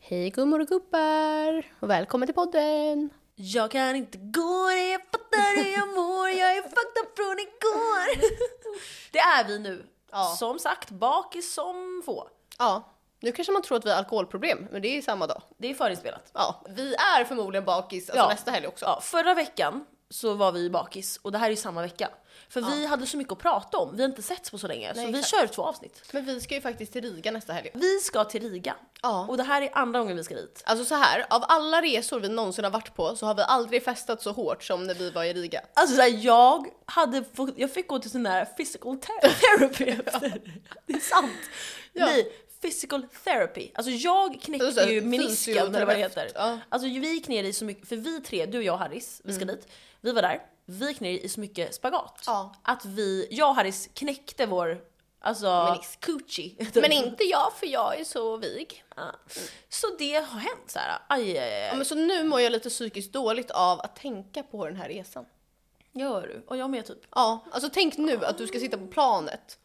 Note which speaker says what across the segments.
Speaker 1: Hej gummor och gubbar! Och välkommen till podden!
Speaker 2: Jag kan inte gå det, jag fattar hur jag mår, jag är fucked up från igår. Det är vi nu.
Speaker 1: Ja.
Speaker 2: Som sagt, bakis som få.
Speaker 1: Ja, nu kanske man tror att vi har alkoholproblem, men det är ju samma dag.
Speaker 2: Det är förinspelat.
Speaker 1: Ja, vi är förmodligen bakis alltså
Speaker 2: Ja.
Speaker 1: nästa helg också.
Speaker 2: Ja, förra veckan så var vi bakis och det här är ju samma vecka. För vi hade så mycket att prata om, vi har inte setts på så länge
Speaker 1: Nej,
Speaker 2: så vi
Speaker 1: exakt.
Speaker 2: kör två avsnitt.
Speaker 1: Men vi ska ju faktiskt till Riga nästa helg.
Speaker 2: Vi ska till Riga
Speaker 1: Ja.
Speaker 2: och det här är andra gången vi ska dit.
Speaker 1: Alltså så här, av alla resor vi någonsin har varit på så har vi aldrig festat så hårt som när vi var i Riga.
Speaker 2: Alltså så här, jag, hade fått, jag fick gå till sån där physical te- therapy efter. Det är sant.
Speaker 1: Ja.
Speaker 2: Nej, physical therapy. Alltså jag knäckte
Speaker 1: Alltså, så här,
Speaker 2: ju menisken eller vad det heter.
Speaker 1: ja. Mm.
Speaker 2: Alltså vi gick ner i så mycket, för vi tre, du och jag och Harris, vi ska dit. Vi var där, vi gick ner i så mycket spagat.
Speaker 1: Ja.
Speaker 2: Att vi, jag och Harris knäckte vår, alltså
Speaker 1: Menisk.
Speaker 2: coochie.
Speaker 1: Men inte jag för jag är så vig.
Speaker 2: Ja. Så det har hänt så här. Aj, aj, aj.
Speaker 1: Ja, men så nu mår jag lite psykiskt dåligt av att tänka på den här resan.
Speaker 2: Gör du? Och jag med typ.
Speaker 1: Ja, alltså tänk nu att du ska sitta på planet.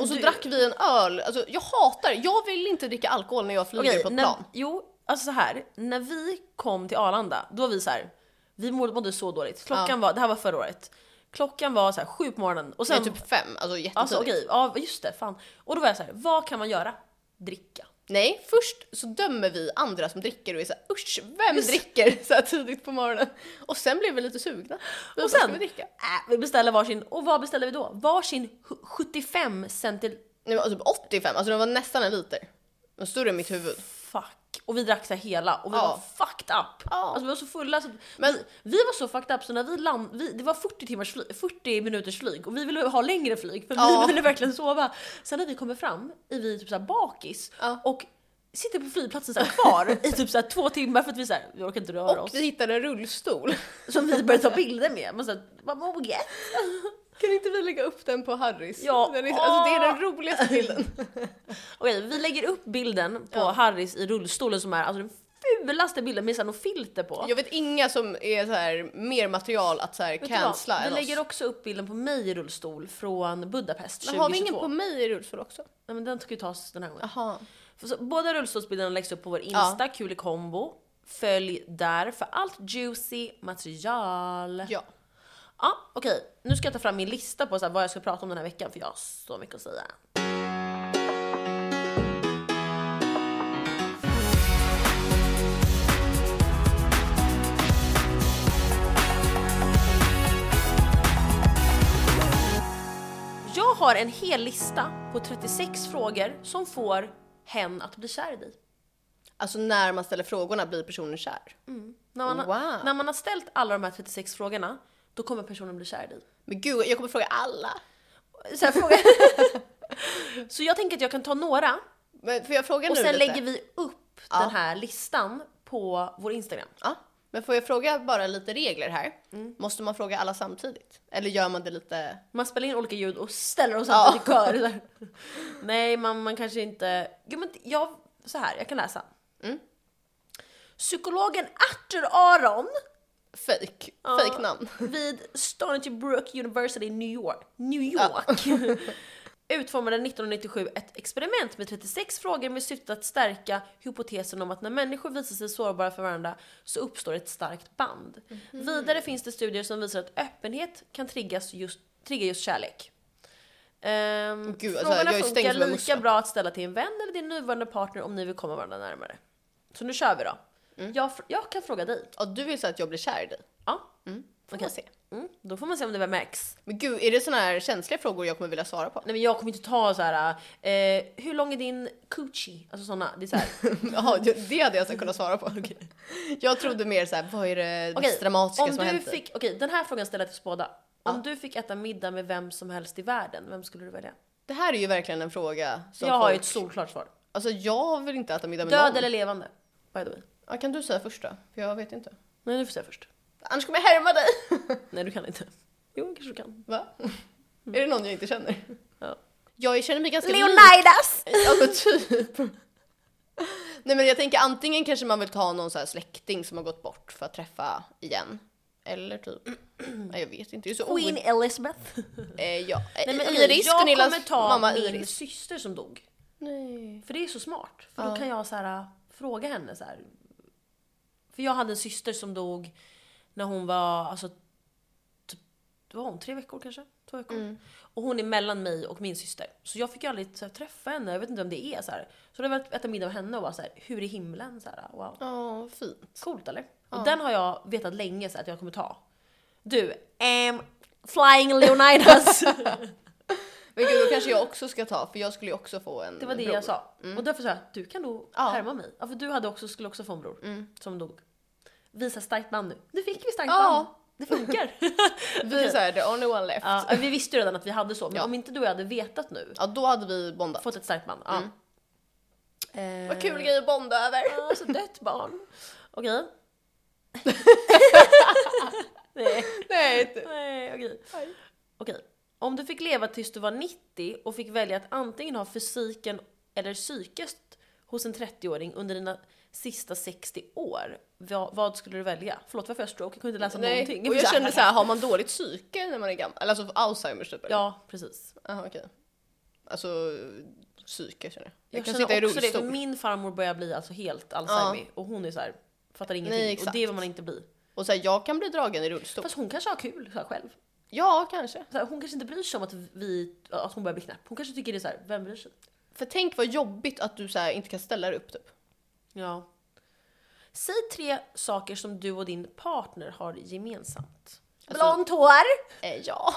Speaker 1: Och så
Speaker 2: Du-
Speaker 1: drack vi en öl. Alltså jag hatar, jag vill inte dricka alkohol när jag flyger
Speaker 2: Okej,
Speaker 1: på ett
Speaker 2: när,
Speaker 1: plan.
Speaker 2: jo, alltså så här. När vi kom till Arlanda, då var vi så här. Vi mådde, mådde så dåligt. Klockan
Speaker 1: Ja.
Speaker 2: var, det här var förra året. Klockan var så här sju på morgonen och
Speaker 1: Det är
Speaker 2: sen,
Speaker 1: typ fem, alltså jättetidigt.
Speaker 2: alltså okej, ja just det, fan. Och då var jag så här, vad kan man göra? Dricka.
Speaker 1: Nej, först så dömer vi andra som dricker och är såhär usch, vem
Speaker 2: Just-
Speaker 1: dricker så här tidigt på morgonen? Och sen blev vi lite sugna. Vi bara,
Speaker 2: sen-
Speaker 1: "Ska vi dricka?
Speaker 2: Äh, vi beställer varsin, och vad beställer vi då? Varsin hu- 75 centil...
Speaker 1: Nej men typ 85, alltså det var nästan en liter. Det var större än mitt huvud.
Speaker 2: Fuck. Och vi drack så här hela och vi
Speaker 1: Ja.
Speaker 2: var fucked up.
Speaker 1: Ja.
Speaker 2: Alltså vi var så fulla. Så
Speaker 1: Men-
Speaker 2: men vi, vi var så fucked up så när vi land, vi, det var 40 timmars fly, 40 minuters flyg och vi ville ha längre flyg för
Speaker 1: Ja.
Speaker 2: vi ville verkligen sova. Sen när vi kommer fram är vi typ så här bakis
Speaker 1: Ja.
Speaker 2: och sitter på flygplatsen så här kvar i typ så här två timmar för att vi så här, vi orkar inte röra
Speaker 1: Och
Speaker 2: oss.
Speaker 1: vi hittade en rullstol.
Speaker 2: Som vi började ta bilder med. Man så här, vad moget.
Speaker 1: Kan inte vi lägga upp den på Harrys?
Speaker 2: Ja.
Speaker 1: Den är, alltså det är den roligaste bilden.
Speaker 2: Okej, vi lägger upp bilden på
Speaker 1: Ja.
Speaker 2: Harris i rullstolen som är alltså den fulaste bilden med så här något filter på.
Speaker 1: Jag vet inga som är så här mer material att så här
Speaker 2: Vet du vad?
Speaker 1: cancella
Speaker 2: Vi
Speaker 1: än
Speaker 2: lägger
Speaker 1: oss.
Speaker 2: också upp bilden på mig i rullstol från Budapest
Speaker 1: Men
Speaker 2: 2022.
Speaker 1: har vi ingen på mig i rullstol också?
Speaker 2: Nej, men den ska ju tas den här gången.
Speaker 1: Jaha.
Speaker 2: För Så, båda rullstolsbilderna läggs upp på vår Insta,
Speaker 1: Ja.
Speaker 2: kul i kombo. Följ där för allt juicy material. Ja,
Speaker 1: Ja.
Speaker 2: okej. Nu ska jag ta fram min lista på så här, vad jag ska prata om den här veckan för jag har så mycket att säga. Jag har en hel lista på 36 frågor som får hen att bli kär i dig.
Speaker 1: Alltså när man ställer frågorna blir personen kär.
Speaker 2: Mm. När man, har-
Speaker 1: Wow.
Speaker 2: när man har ställt alla de här 36 frågorna, då kommer personen bli kär i dig.
Speaker 1: Men gud, jag kommer fråga alla.
Speaker 2: Så, här, fråga... så jag tänker att jag kan ta några
Speaker 1: Men får jag fråga
Speaker 2: och
Speaker 1: nu
Speaker 2: sen
Speaker 1: lite?
Speaker 2: lägger vi upp
Speaker 1: Ja.
Speaker 2: den här listan på vår Instagram.
Speaker 1: Ja. Men får jag fråga bara lite regler här?
Speaker 2: Mm.
Speaker 1: Måste man fråga alla samtidigt? Eller gör man det lite...
Speaker 2: Man spelar in olika ljud och ställer dem
Speaker 1: Ja.
Speaker 2: samtidigt i kör. Så här. Nej, man, man kanske inte... Jo, men jag, så här, jag kan läsa.
Speaker 1: Mm.
Speaker 2: Psykologen Arthur Aron
Speaker 1: Fake,
Speaker 2: Ja.
Speaker 1: fake namn.
Speaker 2: vid Stony Brook University i New York, New York utformade 1997 ett experiment med 36 frågor med syfte att stärka hypotesen om att när människor visar sig sårbara för varandra så uppstår ett starkt band.
Speaker 1: Mhm.
Speaker 2: Vidare finns det studier som visar att öppenhet kan triggas just, trigga just kärlek. Ehm,
Speaker 1: Gud, alltså,
Speaker 2: frågorna
Speaker 1: jag är stängd
Speaker 2: funkar
Speaker 1: som en
Speaker 2: lika
Speaker 1: mussla.
Speaker 2: bra att ställa till en vän eller din nuvarande partner om ni vill komma varandra närmare. Så nu kör vi då.
Speaker 1: Mm.
Speaker 2: Jag, fr- jag kan fråga dig.
Speaker 1: Ja, du vill säga att jag blir kär i dig?
Speaker 2: Ja.
Speaker 1: Får
Speaker 2: Okej.
Speaker 1: man se.
Speaker 2: Mm, då får man se om det märks.
Speaker 1: Men gud, är det såna här känsliga frågor jag kommer vilja svara på?
Speaker 2: Nej men jag kommer inte ta så här. Eh, hur lång är din coochie? Alltså såna. Det är så här.
Speaker 1: Ja, det det hade jag så kunnat svara på. Jag trodde mer så här, vad är det
Speaker 2: Okej,
Speaker 1: mest dramatiska
Speaker 2: om
Speaker 1: som har
Speaker 2: du
Speaker 1: hänt dig?
Speaker 2: fick, okej den här frågan ställer jag till oss båda. Om
Speaker 1: Ja.
Speaker 2: du fick äta middag med vem som helst i världen, vem skulle du välja?
Speaker 1: Det här är ju verkligen en fråga som
Speaker 2: jag har ju
Speaker 1: folk...
Speaker 2: ett solklart svar.
Speaker 1: Alltså jag vill inte äta middag med
Speaker 2: Död
Speaker 1: någon.
Speaker 2: eller levande? By the way.
Speaker 1: Ja, kan du säga först då? För jag vet inte.
Speaker 2: Nej du får säga först.
Speaker 1: Annars kommer jag härma dig!
Speaker 2: Nej du kan inte. Jo kanske du kan.
Speaker 1: Va? Är det någon jag inte känner?
Speaker 2: Mm. Ja.
Speaker 1: Jag känner mig ganska lik-
Speaker 2: Leonidas!
Speaker 1: Ja men typ. Nej men jag tänker antingen kanske man vill ta någon så här släkting som har gått bort för att träffa igen. Eller typ, nej jag vet inte. Det är så
Speaker 2: Queen Elizabeth.
Speaker 1: Eh, ja. Eh,
Speaker 2: Nej, men,
Speaker 1: Iris,
Speaker 2: jag
Speaker 1: Gunillas
Speaker 2: kommer ta
Speaker 1: mamma
Speaker 2: min
Speaker 1: Iris.
Speaker 2: syster som dog.
Speaker 1: Nej.
Speaker 2: För det är så smart. För
Speaker 1: Ja.
Speaker 2: då kan jag så här, äh, fråga henne så här. För jag hade en syster som dog när hon var, alltså, typ, vad var hon, tre veckor kanske? Två veckor.
Speaker 1: Mm.
Speaker 2: Och hon är mellan mig och min syster. Så jag fick ju aldrig så här, träffa henne, jag vet inte om det är så här. Så det var att äta middag med henne och vara så här, hur är himlen? Så här, äh, wow.
Speaker 1: Ja, fint.
Speaker 2: Coolt eller?
Speaker 1: Ja.
Speaker 2: Och den har jag vetat länge så att jag kommer ta. Du, ehm, Flying Leonidas!
Speaker 1: Men gud, då kanske jag också ska ta för jag skulle ju också få en
Speaker 2: Det var det
Speaker 1: bror.
Speaker 2: jag sa. Och därför sa jag att du kan nog
Speaker 1: Ja.
Speaker 2: härma mig. Mm. Ja, för du hade också, skulle också få en bror
Speaker 1: Mm.
Speaker 2: som dog. Visa starkt band nu. Nu fick vi starkt
Speaker 1: Ja.
Speaker 2: band. Det funkar.
Speaker 1: Vi är såhär the only one left. Ja.
Speaker 2: ja, vi visste ju redan att vi hade så, men
Speaker 1: Ja.
Speaker 2: om inte du och jag hade vetat nu,
Speaker 1: då hade vi bondat.
Speaker 2: fått ett starkt band. Ja. Eh,
Speaker 1: Vad kul grej att bonda över.
Speaker 2: Ja, så dött barn. Okej. Nej.
Speaker 1: Nej, inte.
Speaker 2: Nej, okej.
Speaker 1: Nej.
Speaker 2: Okej. Om du fick leva tills du var 90 och fick välja att antingen ha fysiken eller psyket hos en 30-åring under dina sista 60 år, vad, vad skulle du välja? Förlåt, varför jag stroke? Jag kunde inte läsa
Speaker 1: Nej.
Speaker 2: någonting.
Speaker 1: Och jag kände såhär, har man dåligt psyke när man är gammal? Eller alltså Alzheimers typ? eller?
Speaker 2: Ja, precis.
Speaker 1: Jaha okej. Alltså psyke känner jag. Jag,
Speaker 2: Jag,
Speaker 1: kan sitta i
Speaker 2: känner också det, för
Speaker 1: rullstol.
Speaker 2: min farmor börjar bli alltså helt Alzheimer och hon är så här, fattar ingenting.
Speaker 1: Nej,
Speaker 2: och
Speaker 1: exakt.
Speaker 2: det vill man inte bli.
Speaker 1: Och såhär, jag kan bli dragen i rullstol.
Speaker 2: Fast hon kanske har kul så här, själv.
Speaker 1: Ja, kanske.
Speaker 2: Så här, hon kanske inte bryr sig om att, vi, att hon börjar bli knäpp. Hon kanske tycker det är så här, vem bryr sig?
Speaker 1: För tänk vad jobbigt att du såhär inte kan ställa dig upp typ.
Speaker 2: Ja. Säg tre saker som du och din partner har gemensamt.
Speaker 1: Alltså-
Speaker 2: Blont hår!
Speaker 1: Eh, ja.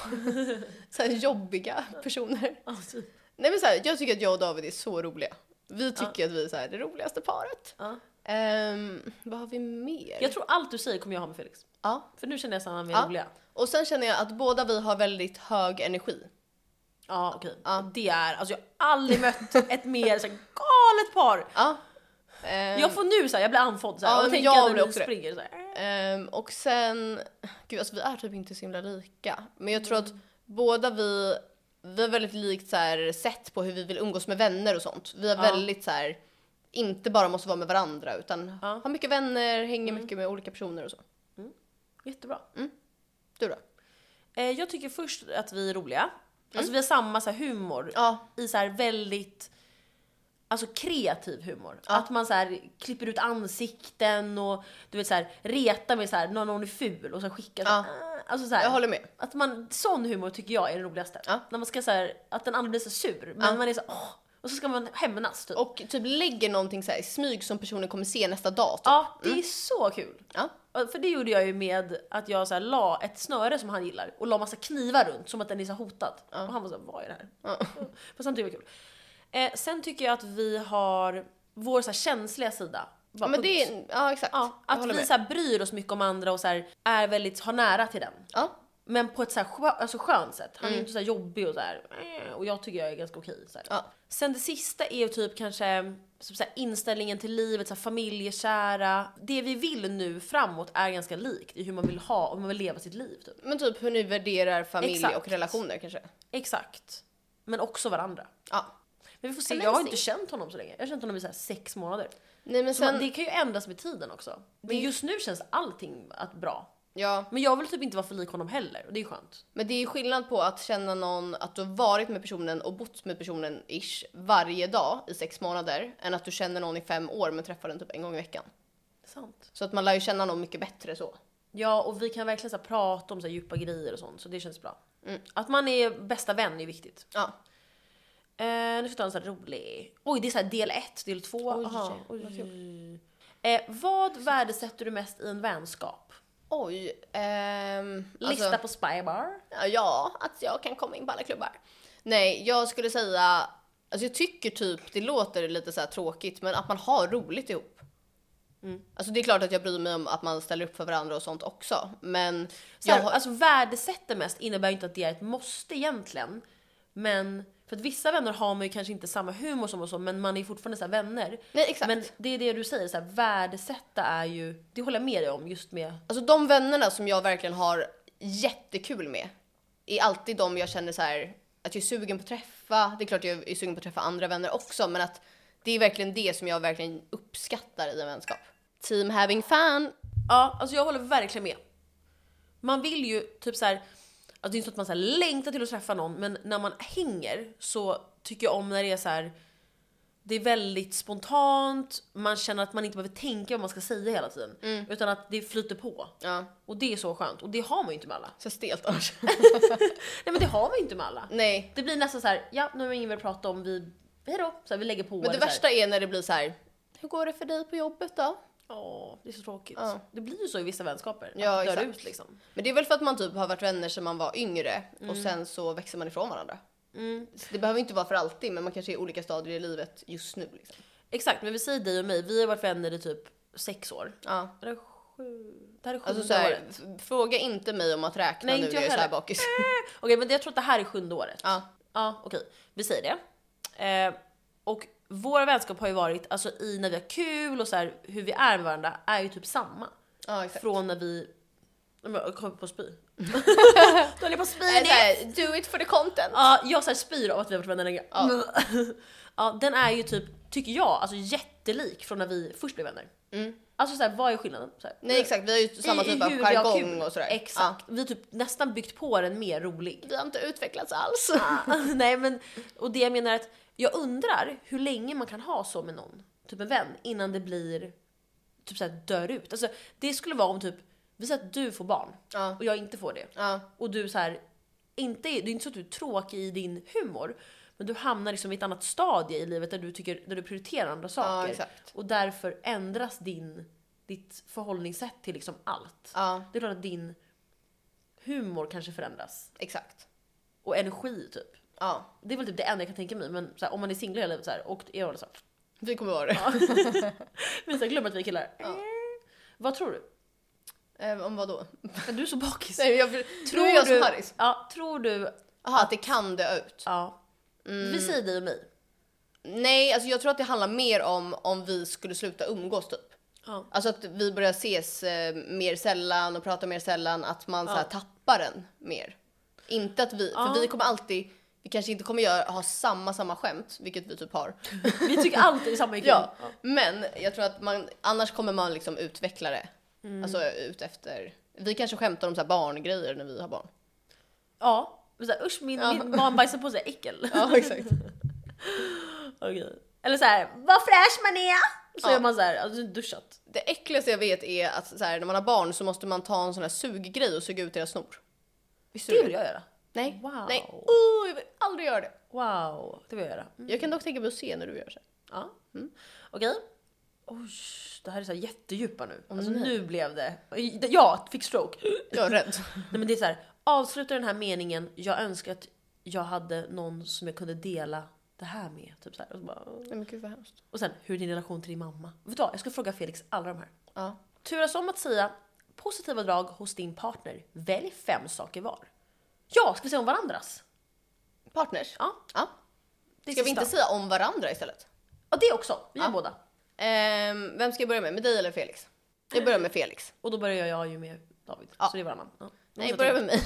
Speaker 1: såhär jobbiga personer.
Speaker 2: Alltså,
Speaker 1: Nej men såhär, jag tycker att jag och David är så roliga. Vi tycker att vi är såhär det roligaste paret.
Speaker 2: ja.
Speaker 1: Ehm, vad har vi mer?
Speaker 2: Jag tror allt du säger kommer jag ha med Felix.
Speaker 1: Ja.
Speaker 2: För nu känner jag samma med
Speaker 1: Ja.
Speaker 2: roliga.
Speaker 1: Och sen känner jag att båda vi har väldigt hög energi.
Speaker 2: Ja okej.
Speaker 1: Ja.
Speaker 2: Det är, alltså jag har aldrig mött ett mer så här, galet par.
Speaker 1: Ja. Ehm,
Speaker 2: Jag får nu såhär, jag blir andfådd såhär.
Speaker 1: Ja,
Speaker 2: och
Speaker 1: men
Speaker 2: tänker
Speaker 1: jag
Speaker 2: jag
Speaker 1: blir
Speaker 2: när ni
Speaker 1: också det.
Speaker 2: springer såhär.
Speaker 1: ehm, och sen, gud alltså vi är typ inte så himla lika. Men jag tror
Speaker 2: Mm.
Speaker 1: att båda vi, vi har väldigt likt så här, sätt på hur vi vill umgås med vänner och sånt. Vi har
Speaker 2: Ja.
Speaker 1: väldigt så här, inte bara måste vara med varandra utan
Speaker 2: Ja. Mm.
Speaker 1: har mycket vänner, hänger mycket med olika personer och så.
Speaker 2: Jättebra.
Speaker 1: Du då?
Speaker 2: Eh, jag tycker först att vi är roliga.
Speaker 1: Mm.
Speaker 2: Alltså vi har samma så här, humor.
Speaker 1: Ja,
Speaker 2: i så här väldigt Alltså kreativ humor. Att man så här klipper ut ansikten och du vet så här retar med så här när någon är ful och så skickar så här, "Ah." Alltså så
Speaker 1: jag
Speaker 2: här,
Speaker 1: håller med.
Speaker 2: att man, sån humor tycker jag är den roligaste.
Speaker 1: Ja.
Speaker 2: När man ska så här, att den andra blir så sur men
Speaker 1: Ja.
Speaker 2: man är så här, åh, och så ska man hämnas typ.
Speaker 1: Och typ lägger någonting så här i smyg som personen kommer se nästa dag. Typ.
Speaker 2: Ja, det är så kul.
Speaker 1: Ja.
Speaker 2: Och För det gjorde jag ju med att jag så här la ett snöre som han gillar och la massa knivar runt som att den är så här hotad. Och han var så här, vad är det här?
Speaker 1: Ja.
Speaker 2: Fast han tyckte det var kul. Eh, sen tycker jag att vi har vår så här känsliga sida.
Speaker 1: Ja,
Speaker 2: Bara
Speaker 1: men
Speaker 2: punkt.
Speaker 1: det är, ja exakt.
Speaker 2: ja,
Speaker 1: jag
Speaker 2: att
Speaker 1: håller
Speaker 2: vi
Speaker 1: med.
Speaker 2: så här bryr oss mycket om andra och så här är väldigt, har nära till den.
Speaker 1: Ja.
Speaker 2: Men på ett så här skö, alltså skönt sätt.
Speaker 1: Mm.
Speaker 2: Han är ju inte så här jobbig och så här. eh, Och jag tycker jag är ganska okej. Så här.
Speaker 1: Ja.
Speaker 2: Sen det sista är ju typ kanske som så här, inställningen till livet, så här, familjekära. Det vi vill nu framåt är ganska likt i hur man vill ha och hur man vill leva sitt liv. Typ.
Speaker 1: Men typ hur ni värderar familj
Speaker 2: Exakt.
Speaker 1: och relationer kanske?
Speaker 2: Exakt. Men också varandra.
Speaker 1: Ja.
Speaker 2: Men vi får se,
Speaker 1: Ja, men
Speaker 2: jag har
Speaker 1: vi
Speaker 2: inte
Speaker 1: ser.
Speaker 2: känt honom så länge. Jag har känt honom i så här sex månader.
Speaker 1: Nej men
Speaker 2: Så man,
Speaker 1: sen,
Speaker 2: det kan ju ändras med tiden också. Men just nu känns allting att bra.
Speaker 1: ja.
Speaker 2: Men jag vill typ inte vara för lik honom heller och det är skönt.
Speaker 1: Men det är ju skillnad på att känna någon, att du har varit med personen och bott med personen ish varje dag i sex månader än att du känner någon i fem år men träffar den typ en gång i veckan.
Speaker 2: Sant.
Speaker 1: Så att man lär ju känna någon mycket bättre så.
Speaker 2: Ja och vi kan verkligen så här prata om så här djupa grejer och sånt så det känns bra.
Speaker 1: Mm.
Speaker 2: Att man är bästa vän är viktigt.
Speaker 1: Ja.
Speaker 2: Eh, nu ska jag ta en så här rolig. Oj det är så här del 1, del 2.
Speaker 1: Oj,
Speaker 2: oj,
Speaker 1: vad
Speaker 2: Eh, vad värdesätter du mest i en vänskap?
Speaker 1: Oj. Ehm, alltså-
Speaker 2: Lista på Spybar.
Speaker 1: Ja, att jag kan komma in på alla klubbar. Nej, jag skulle säga, alltså jag tycker typ, det låter lite så här tråkigt, men att man har roligt ihop.
Speaker 2: Mm.
Speaker 1: Alltså det är klart att jag bryr mig om att man ställer upp för varandra och sånt också, men
Speaker 2: Så här,
Speaker 1: jag har,
Speaker 2: Alltså värdesätter mest innebär ju inte att det är ett måste egentligen. Men för att vissa vänner har man ju kanske inte samma humor som och så, men man är ju fortfarande så här vänner.
Speaker 1: nej exakt.
Speaker 2: Men det är det du säger, så här, värdesätta är ju, det håller jag med dig om just med,
Speaker 1: Alltså de vännerna som jag verkligen har jättekul med är alltid de jag känner så här att jag är sugen på att träffa. Det är klart jag är sugen på att träffa andra vänner också, men att det är verkligen det som jag verkligen uppskattar i en vänskap. Team having fun.
Speaker 2: ja alltså jag håller verkligen med. Man vill ju typ så här, alltså det är inte så att man så här längtar till att träffa någon, men när man hänger så tycker jag om när det är så här Det är väldigt spontant, man känner att man inte behöver tänka vad man ska säga hela tiden.
Speaker 1: Mm.
Speaker 2: Utan att det flyter på.
Speaker 1: Ja,
Speaker 2: Och det är så skönt. Och det har man ju inte med alla.
Speaker 1: så stelt annars.
Speaker 2: Nej men det har man ju inte med alla.
Speaker 1: Nej.
Speaker 2: Det blir nästan så här, ja nu har vi ingen mer att prata om, vi, hejdå. Så här, vi lägger på.
Speaker 1: Men det
Speaker 2: eller så här.
Speaker 1: värsta är när det blir så här. hur går det för dig på jobbet då?
Speaker 2: Ja, det är så tråkigt.
Speaker 1: Ja.
Speaker 2: Det blir ju så i vissa vänskaper.
Speaker 1: Ja,
Speaker 2: att det dör
Speaker 1: exakt.
Speaker 2: ut liksom.
Speaker 1: Men det är väl för att man typ har varit vänner sedan man var yngre och sen så växer man ifrån varandra. Så det behöver inte vara för alltid, men man kanske är i olika stadier i livet just nu. Liksom.
Speaker 2: Exakt, men vi säger dig och mig, vi har varit vänner i typ sex år.
Speaker 1: Ja.
Speaker 2: Eller sju... Det här är sjunde
Speaker 1: Alltså så här,
Speaker 2: året.
Speaker 1: f- fråga inte mig om att räkna
Speaker 2: Nej,
Speaker 1: nu,
Speaker 2: inte
Speaker 1: jag är
Speaker 2: jag
Speaker 1: så här
Speaker 2: heller.
Speaker 1: bakis.
Speaker 2: Eh, Okej, men jag tror att det här är sjunde året.
Speaker 1: Ja.
Speaker 2: Ja, okej. Vi säger det. Eh, och vår vänskap har ju varit, alltså i när vi har kul och så här, hur vi är med varandra, är ju typ samma.
Speaker 1: Ja, exakt.
Speaker 2: Från när vi... Nej, men Jag kommer på att spy. Då höll jag på att spy
Speaker 1: Nej,
Speaker 2: det.
Speaker 1: så här, do it for the content.
Speaker 2: Ja, jag så här spyr av att vi har varit vänner länge. Ja. den är ju typ, tycker jag, alltså jättelik från när vi först blev vänner. Alltså så här, vad är skillnaden? Så här,
Speaker 1: Nej exakt, vi har ju samma
Speaker 2: i- i
Speaker 1: typ av
Speaker 2: hur vi har kul.
Speaker 1: jargong och sådär.
Speaker 2: Exakt. Vi har typ nästan byggt på den mer rolig.
Speaker 1: Ja. Vi har inte utvecklats alls.
Speaker 2: Nej men, och det jag menar är att jag undrar hur länge man kan ha så med någon, typ en vän, innan det blir typ såhär dör ut. Alltså det skulle vara om typ, vi säger att du får barn
Speaker 1: Ja.
Speaker 2: och jag inte får det.
Speaker 1: Ja.
Speaker 2: Och du så här, inte, är- det är inte så att du är tråkig i din humor, men du hamnar liksom i ett annat stadie i livet där du, tycker, där du prioriterar andra saker.
Speaker 1: exakt.
Speaker 2: Och därför ändras din, ditt förhållningssätt till liksom allt.
Speaker 1: ja,
Speaker 2: Det är klart att din humor kanske förändras.
Speaker 1: exakt.
Speaker 2: Och energi typ.
Speaker 1: Ja,
Speaker 2: Det är väl typ det enda jag kan tänka mig, men så här, om man är singel hela livet så här, och är så här,
Speaker 1: vi kommer vara det.
Speaker 2: men så här, glömmer att vi är killar. Vad tror du?
Speaker 1: Eh, om vad då?
Speaker 2: Är du så bakis?
Speaker 1: Nej, jag, tror jag som Harris.
Speaker 2: Ja, tror du?
Speaker 1: Jaha, att det kan dö ut.
Speaker 2: Ja. Vi säger dig och mig.
Speaker 1: Nej, alltså jag tror att det handlar mer om om vi skulle sluta umgås typ.
Speaker 2: Ja.
Speaker 1: Alltså att vi börjar ses eh, mer sällan och prata mer sällan, att man så här, tappar den mer. Inte att vi, för vi kommer alltid, vi kanske inte kommer göra, ha samma samma skämt, vilket vi typ har.
Speaker 2: Vi tycker alltid samma är kul.
Speaker 1: Ja, men jag tror att man, annars kommer man liksom utveckla det. Alltså ut efter, vi kanske skämtar om så här barngrejer när vi har barn.
Speaker 2: ja. Så här, usch min, min barn bajsar på sig, äckel.
Speaker 1: Ja exakt.
Speaker 2: Okej. Eller så här, vad fräsch man är! Så
Speaker 1: Ja.
Speaker 2: gör man så här, alltså duschat.
Speaker 1: Det äckligaste jag vet är att så här, när man har barn så måste man ta en sån här suggrej och suga ut deras snor. Visste
Speaker 2: Det
Speaker 1: du
Speaker 2: vill jag göra.
Speaker 1: Nej.
Speaker 2: Wow.
Speaker 1: Nej. Oh, jag vill aldrig göra det.
Speaker 2: Wow, det vill jag göra. Mm.
Speaker 1: Jag kan dock tänka mig att se när du gör så. här.
Speaker 2: Ja. Okej. Oj, det här är så här jättedjupa nu. Alltså nu blev det. Jag fick stroke.
Speaker 1: Jag är rädd.
Speaker 2: Nej men det är så här, avsluta den här meningen, jag önskar att jag hade någon som jag kunde dela det här med. Typ så här. Och, så bara,
Speaker 1: Nej men gud vad hemskt.
Speaker 2: och sen, hur är din relation till din mamma? Vet du vad, jag ska fråga Felix alla de här.
Speaker 1: Ja.
Speaker 2: Turas om att säga positiva drag hos din partner. Välj fem saker var. Ja, ska vi säga om varandras?
Speaker 1: Partners?
Speaker 2: Ja,
Speaker 1: Ja.
Speaker 2: det är
Speaker 1: Ska vi
Speaker 2: sista.
Speaker 1: inte säga om varandra istället?
Speaker 2: Ja, det också. Vi gör båda.
Speaker 1: Ehm, vem ska jag börja med? Med dig eller Felix? Jag börjar med Felix.
Speaker 2: Och då börjar jag ju med David. Så det är varannan. Ja.
Speaker 1: Nej, jag
Speaker 2: typ.
Speaker 1: börjar med mig.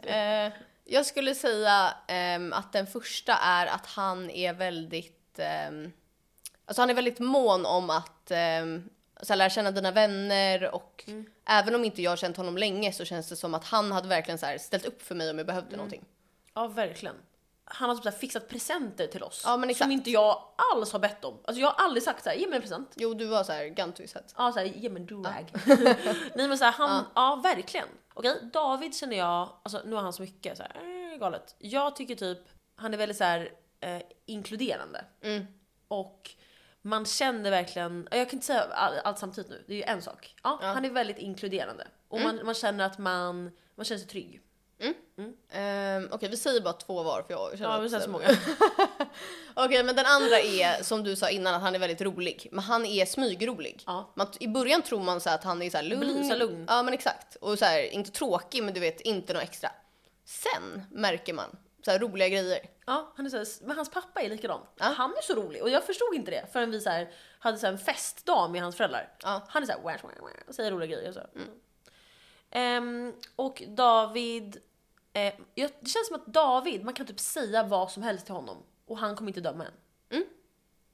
Speaker 1: Ehm, jag skulle säga ehm, att den första är att han är väldigt... ehm, alltså han är väldigt mån om att ehm, så här, lära känna dina vänner och
Speaker 2: Mm.
Speaker 1: även om inte jag har känt honom länge så känns det som att han hade verkligen så här, ställt upp för mig om jag behövde
Speaker 2: Mm.
Speaker 1: någonting.
Speaker 2: Ja, verkligen. Han har typ så här fixat presenter till oss.
Speaker 1: Ja, men
Speaker 2: som
Speaker 1: exakt.
Speaker 2: inte jag alls har bett om. Alltså jag har aldrig sagt så här, ge mig en present.
Speaker 1: Jo, du var så här gantushet.
Speaker 2: Ja, så här, ge mig en durag. Nej men så här, han, ja verkligen. Okej, David känner jag, alltså nu har han så mycket så här, eh, galet. Jag tycker typ, han är väldigt så här eh, inkluderande. Och man känner verkligen, jag kan inte säga all, allt samtidigt nu, det är ju en sak. Ja, Mm. han är väldigt inkluderande. Och man, man känner att man, man känner sig trygg.
Speaker 1: Ehm, Okej, vi säger bara två var för jag känner
Speaker 2: Ja,
Speaker 1: att-
Speaker 2: men så här, så många.
Speaker 1: Okej, men den andra är som du sa innan att han är väldigt rolig, men han är smygrolig.
Speaker 2: Ja.
Speaker 1: Man, I början tror man så här att han är så här lugn.
Speaker 2: Blusa lugn.
Speaker 1: Ja, men exakt. Och så här, inte tråkig, men du vet inte något extra. Sen märker man så här roliga grejer.
Speaker 2: Ja, han är så här, men hans pappa är likadan. Han är så rolig och jag förstod inte det förrän vi så här, hade så här en festdag med hans föräldrar.
Speaker 1: Ja.
Speaker 2: Han är så här, "Wah, wah, wah", och säger roliga grejer och så. Ehm, och David, eh, jag, det känns som att David, man kan typ säga vad som helst till honom och han kommer inte döma en.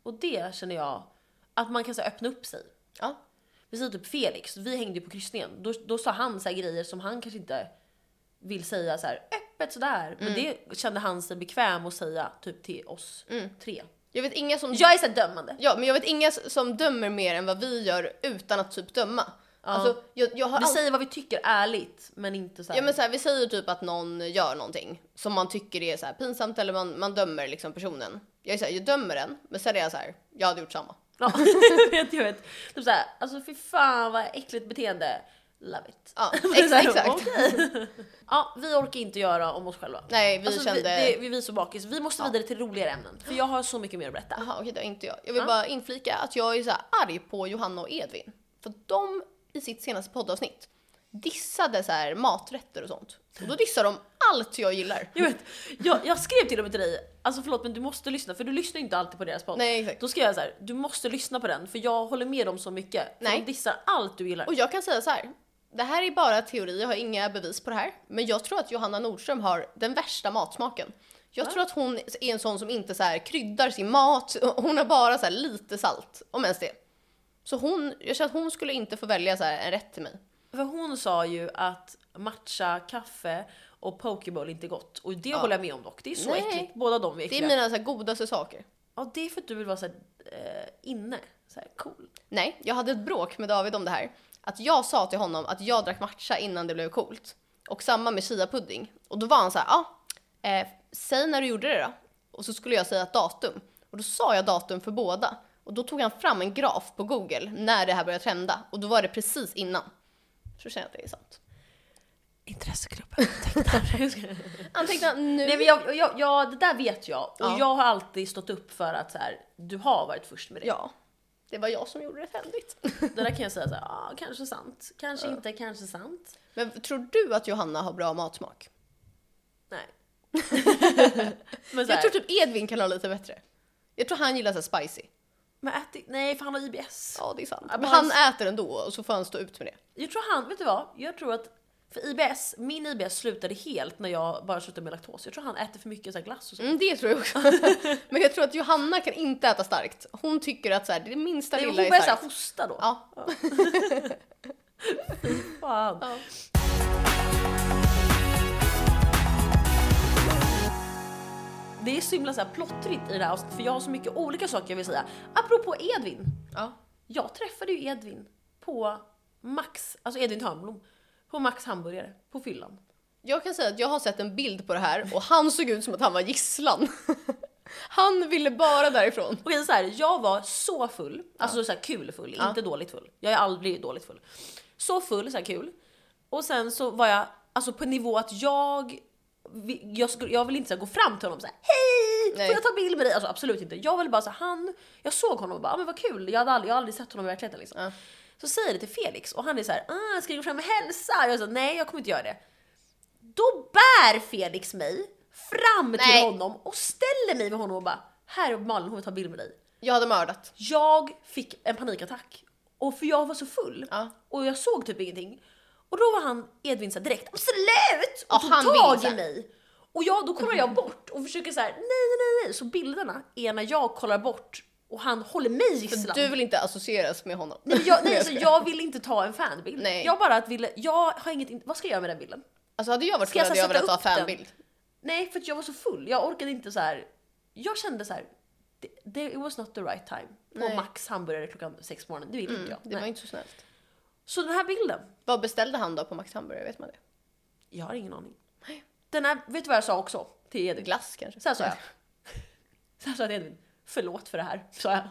Speaker 2: Och det känner jag, att man kan så här, öppna upp sig.
Speaker 1: Ja,
Speaker 2: Vi säger typ Felix, vi hängde ju på kryssningen. Då, då sa han så här grejer som han kanske inte vill säga
Speaker 1: Mm.
Speaker 2: så här öppet sådär. Men det kände han sig bekväm att säga typ till oss tre.
Speaker 1: Jag vet inga som...
Speaker 2: Jag är såhär dömande.
Speaker 1: Ja, men jag vet inga s- som dömer mer än vad vi gör utan att typ döma. Alltså, jag, jag har
Speaker 2: Vi
Speaker 1: all...
Speaker 2: säger vad vi tycker ärligt, men inte såhär.
Speaker 1: ja, men så här, vi säger typ att någon gör någonting som man tycker är så här pinsamt eller man, man dömer liksom personen. Jag är så här, jag dömer den, men sen är jag så här, jag hade gjort samma.
Speaker 2: Ja, jag vet, jag vet. Typ såhär, alltså fy fan vad äckligt beteende. Love it.
Speaker 1: Ja,
Speaker 2: Det är
Speaker 1: ex-
Speaker 2: så här,
Speaker 1: exakt.
Speaker 2: okej. ja, vi orkar inte göra om oss själva.
Speaker 1: Nej, vi
Speaker 2: Alltså,
Speaker 1: kände...
Speaker 2: vi, det, vi, vi är så bakis. Vi måste vidare till roligare ämnen. För jag har så mycket mer att berätta.
Speaker 1: Jaha, okej, det har inte jag. Jag vill bara inflika att jag är så här arg på Johanna och Edvin. För de i sitt senaste poddavsnitt dissade så här maträtter och sånt. Och då dissar de allt jag gillar.
Speaker 2: Jag, vet, jag, jag skrev till och med till dig, alltså förlåt men du måste lyssna för du lyssnar ju inte alltid på deras podd.
Speaker 1: Nej, exakt.
Speaker 2: Då skrev jag så här, du måste lyssna på den för jag håller med dem så mycket. För
Speaker 1: Nej.
Speaker 2: De dissar allt du gillar.
Speaker 1: Och jag kan säga så här. Det här är bara teori, jag har inga bevis på det här. Men jag tror att Johanna Nordström har den värsta matsmaken. Jag tror att hon är en sån som inte så här kryddar sin mat. Hon har bara så här lite salt, om ens det. Så hon, jag känner att hon skulle inte få välja så här en rätt till mig.
Speaker 2: För hon sa ju att matcha, kaffe och pokeball inte är gott. Och det håller jag med om dock, det är så
Speaker 1: Nej.
Speaker 2: äckligt. Båda de är
Speaker 1: Det
Speaker 2: äckliga.
Speaker 1: är mina så här godaste saker.
Speaker 2: Ja det är för att du vill vara så här, eh, inne, så här cool.
Speaker 1: Nej, jag hade ett bråk med David om det här. Att jag sa till honom att jag drack matcha innan det blev coolt. Och samma med chia-pudding. Och då var han så här, ja, eh, säg när du gjorde det då. Och så skulle jag säga ett datum. Och då sa jag datum för båda. Och då tog han fram en graf på Google när det här började trenda. Och då var det precis innan. Så känner jag att det är sant.
Speaker 2: Intressegruppen tecknar.
Speaker 1: Anteckna nu.
Speaker 2: Nej men jag, jag, jag, det där vet jag. Och
Speaker 1: Ja.
Speaker 2: jag har alltid stått upp för att så här, du har varit först med det.
Speaker 1: Ja, det var jag som gjorde det trendigt.
Speaker 2: Det där kan jag säga såhär, ah, kanske sant, kanske inte, kanske sant.
Speaker 1: Men tror du att Johanna har bra matsmak?
Speaker 2: Nej. men, så
Speaker 1: Jag
Speaker 2: här,
Speaker 1: tror typ Edvin kan ha lite bättre. Jag tror han gillar så här spicy.
Speaker 2: men ät, nej för han har IBS.
Speaker 1: Ja, det är sant.
Speaker 2: Ja,
Speaker 1: Men
Speaker 2: men
Speaker 1: han äter ändå och så får han stå ut med det.
Speaker 2: Jag tror han, vet du vad? Jag tror att, för IBS, min IBS slutade helt när jag bara slutade med laktos. Jag tror han äter för mycket så här glass och så.
Speaker 1: Mm, det tror jag också. Men jag tror att Johanna kan inte äta starkt. Hon tycker att så här, det minsta
Speaker 2: Nej, men
Speaker 1: lilla
Speaker 2: hon
Speaker 1: är
Speaker 2: börjar såhär
Speaker 1: starkt.
Speaker 2: hosta då.
Speaker 1: Ja.
Speaker 2: Fan.
Speaker 1: Ja.
Speaker 2: Det är så himla så här plottrigt i det här avsnittet för jag har så mycket olika saker jag vill säga. Apropå Edvin.
Speaker 1: ja.
Speaker 2: Jag träffade ju Edvin på Max, alltså Edvin Törnblom, på Max hamburgare på fyllan.
Speaker 1: Jag kan säga att jag har sett en bild på det här och han såg ut som att han var gisslan. Han ville bara därifrån.
Speaker 2: Okej så här, jag var så full, alltså så här kul full, inte dåligt full. Jag är aldrig dåligt full. Så full, så här kul. Och sen så var jag alltså på en nivå att jag vi- jag, skulle, jag vill inte så här, gå fram till honom och säga hej,
Speaker 1: Nej.
Speaker 2: får jag ta bild med dig? Alltså absolut inte. Jag ville bara så här, han, jag såg honom och bara, ah, men vad kul, jag, hade aldrig, jag har aldrig sett honom i verkligheten liksom.
Speaker 1: Ja.
Speaker 2: Så säger jag det till Felix och han är så här, ah, ska du gå fram och hälsa? Jag sa, nej jag kommer inte göra det. Då bär Felix mig fram till
Speaker 1: Nej.
Speaker 2: honom och ställer mig med honom och bara, här är Malin, hon vill ta bild med dig.
Speaker 1: Jag hade mördat.
Speaker 2: Jag fick en panikattack. Och för jag var så full.
Speaker 1: Ja.
Speaker 2: Och jag såg typ ingenting. Och då var han Edvin såhär direkt absolut! Och
Speaker 1: Ja,
Speaker 2: tog
Speaker 1: han Mm. vill så
Speaker 2: tag
Speaker 1: här.
Speaker 2: i mig. Och jag, då kollar jag bort och försöker såhär nej nej nej. Så bilderna är när jag kollar bort och han håller mig gisslan.
Speaker 1: Du vill inte associeras med honom.
Speaker 2: Nej, men jag, nej, alltså, jag vill inte ta en fanbild.
Speaker 1: Nej.
Speaker 2: Jag bara att ville, jag har inget, in- vad ska jag göra med den bilden?
Speaker 1: Alltså hade jag varit
Speaker 2: Ska
Speaker 1: full
Speaker 2: jag
Speaker 1: hade
Speaker 2: så
Speaker 1: jag
Speaker 2: här
Speaker 1: velat
Speaker 2: sätta
Speaker 1: ta
Speaker 2: upp den?
Speaker 1: fanbild.
Speaker 2: Nej för att jag var så full, jag orkade inte så här. Jag kände så här. det- det- It was not the right time. På
Speaker 1: Nej. Mm,
Speaker 2: Max hamburgare klockan sex på morgonen, det vill inte jag.
Speaker 1: Det
Speaker 2: Nej.
Speaker 1: var inte så snällt.
Speaker 2: Så den här bilden,
Speaker 1: Vad beställde han då på Max Hamburgare? Vet man det?
Speaker 2: jag har ingen aning. Den här, vet du vad jag sa också till Edvin?
Speaker 1: Glass kanske?
Speaker 2: Så här sa jag. Så här sa jag till Edvin. Förlåt för det här, sa jag.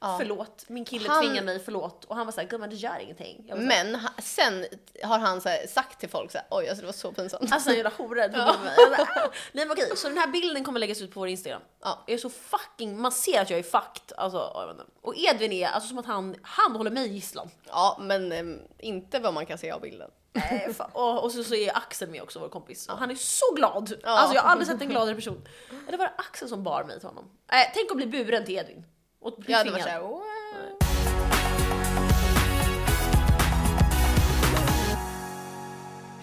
Speaker 1: Ja.
Speaker 2: Förlåt, min kille
Speaker 1: Han-
Speaker 2: tvingar mig, förlåt. Och han var såhär, gumman det gör ingenting. Jag var så här,
Speaker 1: Men ha- sen har han så här sagt till folk så här, oj alltså det var så pinsamt.
Speaker 2: Alltså han jävla hora. tog med mig. Jag bara, "Ah." Nej men okej, så den här bilden kommer läggas ut på vår Instagram.
Speaker 1: Ja.
Speaker 2: Jag är så fucking, man ser att jag är fucked. Alltså, ja, jag vet inte. och Edvin är, alltså som att han, han håller mig gisslan.
Speaker 1: Ja, men ehm, inte vad man kan se av bilden.
Speaker 2: Nej, fan. och, och så, så är Axel med också, vår kompis. Och han är så glad! Alltså jag har aldrig sett en gladare person. Eller var det Axel som bar mig till honom? Eh, tänk att bli buren till Edvin. Och bli
Speaker 1: Jag hade varit
Speaker 2: tvingad.
Speaker 1: såhär, "Wow."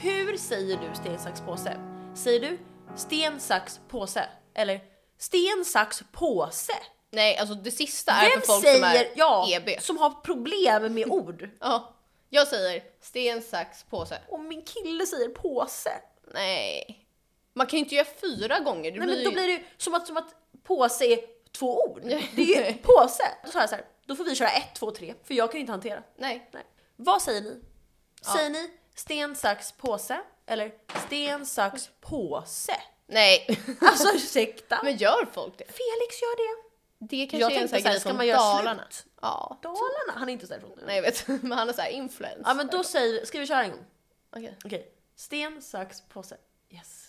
Speaker 2: Hur säger du sten, sax, påse? Säger du sten, sax, påse? Eller sten, sax, påse?
Speaker 1: Nej, alltså det sista är
Speaker 2: Vem
Speaker 1: för folk
Speaker 2: säger,
Speaker 1: som är E
Speaker 2: ja,
Speaker 1: EB.
Speaker 2: som har problem med ord?
Speaker 1: Ja, jag säger sten, sax, påse.
Speaker 2: Och min kille säger påse.
Speaker 1: Nej. Man kan ju inte göra fyra gånger. Det
Speaker 2: Nej men
Speaker 1: blir
Speaker 2: då
Speaker 1: ju-
Speaker 2: blir det ju som att, som att påse är två ord. Det är ju en påse. Då sa jag så här, då får vi köra ett, två, tre, för jag kan inte hantera.
Speaker 1: Nej.
Speaker 2: Nej. Vad säger ni? Säger ni sten, sax, påse? Eller sten, sax, påse?
Speaker 1: Nej.
Speaker 2: Alltså ursäkta.
Speaker 1: Men gör folk det?
Speaker 2: Felix gör det.
Speaker 1: Det kanske
Speaker 2: Jag
Speaker 1: är en
Speaker 2: tänkte
Speaker 1: sån här grej
Speaker 2: såhär, ska
Speaker 1: från
Speaker 2: man göra
Speaker 1: Dalarna.
Speaker 2: slut?
Speaker 1: Ja.
Speaker 2: Dalarna? Han är inte så därifrån nu.
Speaker 1: Nej jag vet, men han är såhär influencer.
Speaker 2: Ja men då säger, ska vi köra en gång?
Speaker 1: Okej.
Speaker 2: Okej. Sten, sax, påse. Yes.